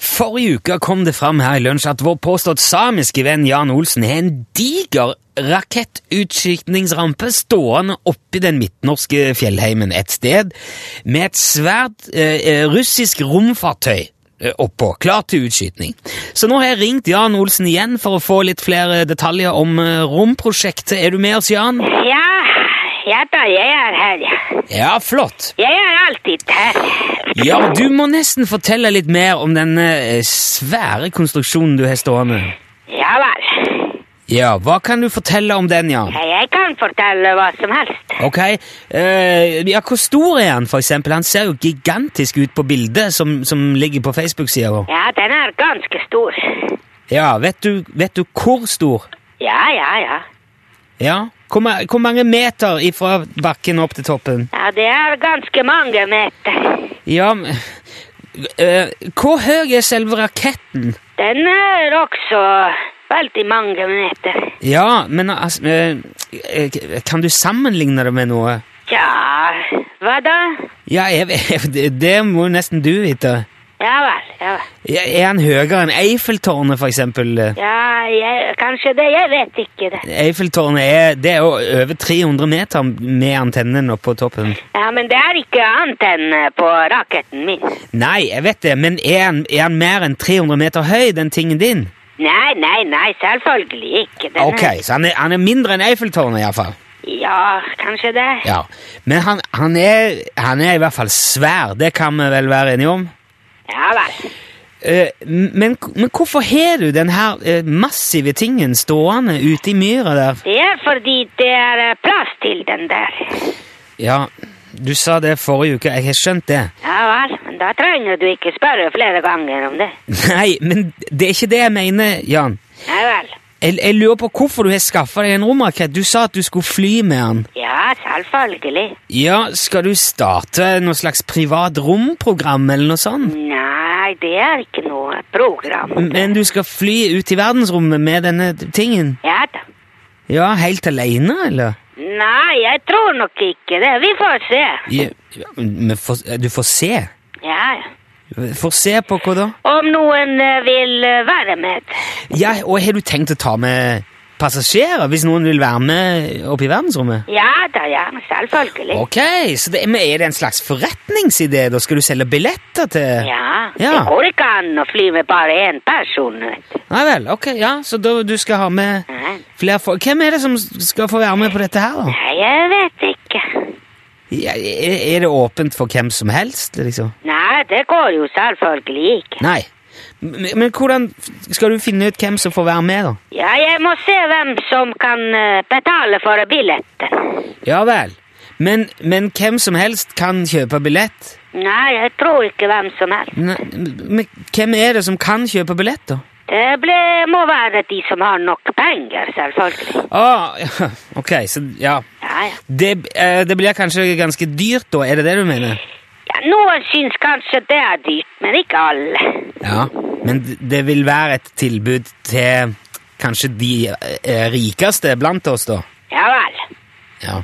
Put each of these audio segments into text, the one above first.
Forrige uke kom det fram her i lunsj at vår påstått samiske venn Jan Olsen har en diger rakettutskytningsrampe stående oppi den midtnorske fjellheimen et sted, med et svært eh, eh, russisk romfartøy eh, oppå, klar til utskytning. Så nå har jeg ringt Jan Olsen igjen for å få litt flere detaljer om eh, romprosjektet. Er du med oss, Jan? Ja, ja da, jeg er her. Ja, flott. Jeg er alltid her. Ja, du må nesten fortelle litt mer om denne eh, svære konstruksjonen du har stående. Ja vel. Ja, hva kan du fortelle om den, Jan? Jeg kan fortelle hva som helst. Ok, eh, ja, hvor stor er han for eksempel? Han ser jo gigantisk ut på bildet som, som ligger på Facebook-siden vår. Ja, den er ganske stor. Ja, vet du, vet du hvor stor? Ja, ja, ja. Ja, hvor, ma- hvor mange meter fra bakken opp til toppen? Ja, det er ganske mange meter. Ja, men- eh, hvor høy er selve raketten? Den er også veldig mange meter. Ja, men altså, eh, eh, kan du sammenligne det med noe? Ja, hva da? Ja, jeg, vet- det- det må nesten du vite. Ja vel, ja vel. Ja, Er han høyere enn Eiffeltårnet, for eksempel? Ja, jeg, kanskje det, jeg vet ikke det. Eiffeltårnet er, det er jo over 300 meter med antennen oppå toppen. Ja, men det er ikke annet enn på raketten min. Nei, jeg vet det, men er han, er han mer enn 300 meter høy, den tingen din? Nei, nei, nei, selvfølgelig ikke. Den Ok, så han er, han er mindre enn Eiffeltårnet iallfall. Er, ja, kanskje det. Ja. Men han, han, er, han er i hvert fall svær, det kan vi vel være enige om? Ja vel. Eh, men, men hvorfor har du den her eh, massive tingen stående ute i myra der? Det er fordi det er eh, plass til den der. Ja, du sa det forrige uke, jeg har skjønt det. Ja vel, men da trenger du ikke spørre flere ganger om det. Nei, men det er ikke det jeg mener, Jan. Ja vel. Jeg, jeg lurer på hvorfor du har skaffa deg en romrakett. Du sa at du skulle fly med den. Ja, selvfølgelig. Ja, skal du starte noe slags privat romprogram eller noe sånt? Nei, det er ikke noe program. Men du skal fly ut i verdensrommet med denne tingen? Ja da. Ja, helt aleine, eller? Nei, jeg tror nok ikke det. Vi får se. Ja, men får- du får se. Ja, ja. Får se på hva da? Om noen eh, vil eh, være med. Ja, og har du tenkt å ta med passasjerer hvis noen vil være med opp i verdensrommet? Ja da, ja, selvfølgelig. Ok, så det, men Er det en slags forretningsidé? da? Skal du selge billetter til Ja, det Ja. går ikke an å fly med bare én person, vet du. Nei vel, ok, ja, så da, du skal ha med Nei, flere folk. Hvem er det som skal få være med på dette her, da? Nei, jeg vet ikke. Ja, er, er det åpent for hvem som helst, liksom? Nei, det går jo selvfølgelig ikke. Nei. Men, men hvordan skal du finne ut hvem som får være med, da? Ja, jeg må se hvem som kan eh, betale for billetten. Ja vel. Men, men hvem som helst kan kjøpe billett? Nei, jeg tror ikke hvem som helst. Nei, men hvem er det som kan kjøpe billett, da? Det ble, må være de som har nok penger, selvfølgelig. Ah, ja, ok, så ja. Ja, ja. Det, eh, det blir kanskje ganske dyrt, da? Er det det du mener? ja noen syns kanskje det er dyrt, men ikke alle. Ja, men d- det vil være et tilbud til kanskje de eh, rikeste blant oss, da. Ja vel. Ja.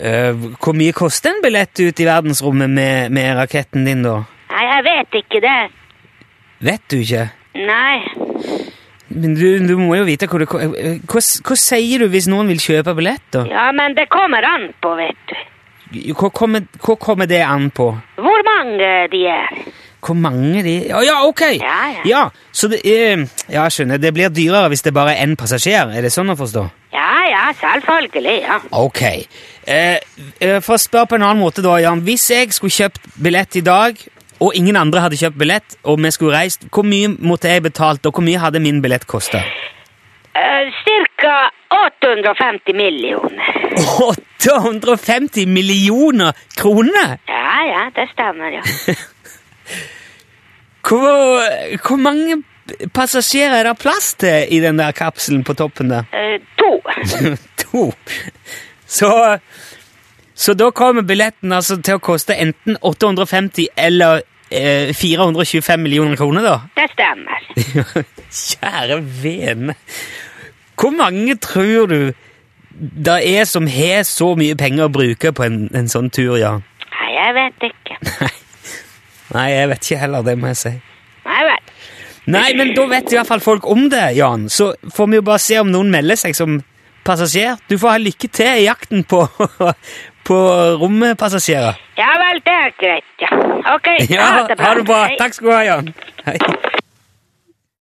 Eh, hvor mye koster en billett ut i verdensrommet med, med raketten din, da? Nei, jeg vet ikke det. Vet du ikke? Nei. Men du, du må jo vite hvor det ko- eh, hva, s- hva sier du hvis noen vil kjøpe billett, da? Ja, men det kommer an på, vet du. Hva kommer, hva kommer det an på? Hvor mange de er. Hvor mange de Å ja, ok! Ja, ja. så det eh, Ja, jeg skjønner. Det blir dyrere hvis det bare er én passasjer. Er det sånn å forstå? Ja, ja, selvfølgelig, ja. Ok. Eh, eh, for å spørre på en annen måte, da, Jan. Hvis jeg skulle kjøpt billett i dag, og ingen andre hadde kjøpt billett, og vi skulle reist, hvor mye måtte jeg betalt, og hvor mye hadde min billett kosta? Eh, cirka 850 millioner. 850 millioner kroner! Ja, ja, det stemmer, ja. Hvor, hvor mange passasjerer er det plass til i den der kapselen på toppen der? Eh, to. to. Så, så da kommer billetten altså til å koste enten 850 eller eh, 425 millioner kroner, da. Det stemmer. Kjære vene! Hvor mange tror du det er som har så mye penger å bruke på en, en sånn tur, Jan? Nei, jeg vet ikke. Nei, jeg vet ikke heller, det må jeg si. Nei vel. Nei, men da vet i hvert fall folk om det, Jan. Så får vi jo bare se om noen melder seg som passasjer. Du får ha lykke til i jakten på, på rommepassasjerer. Ja vel, det er greit, ja. Ok, Ja, ha det bra. Hei. Takk skal du ha, Jan. Hei.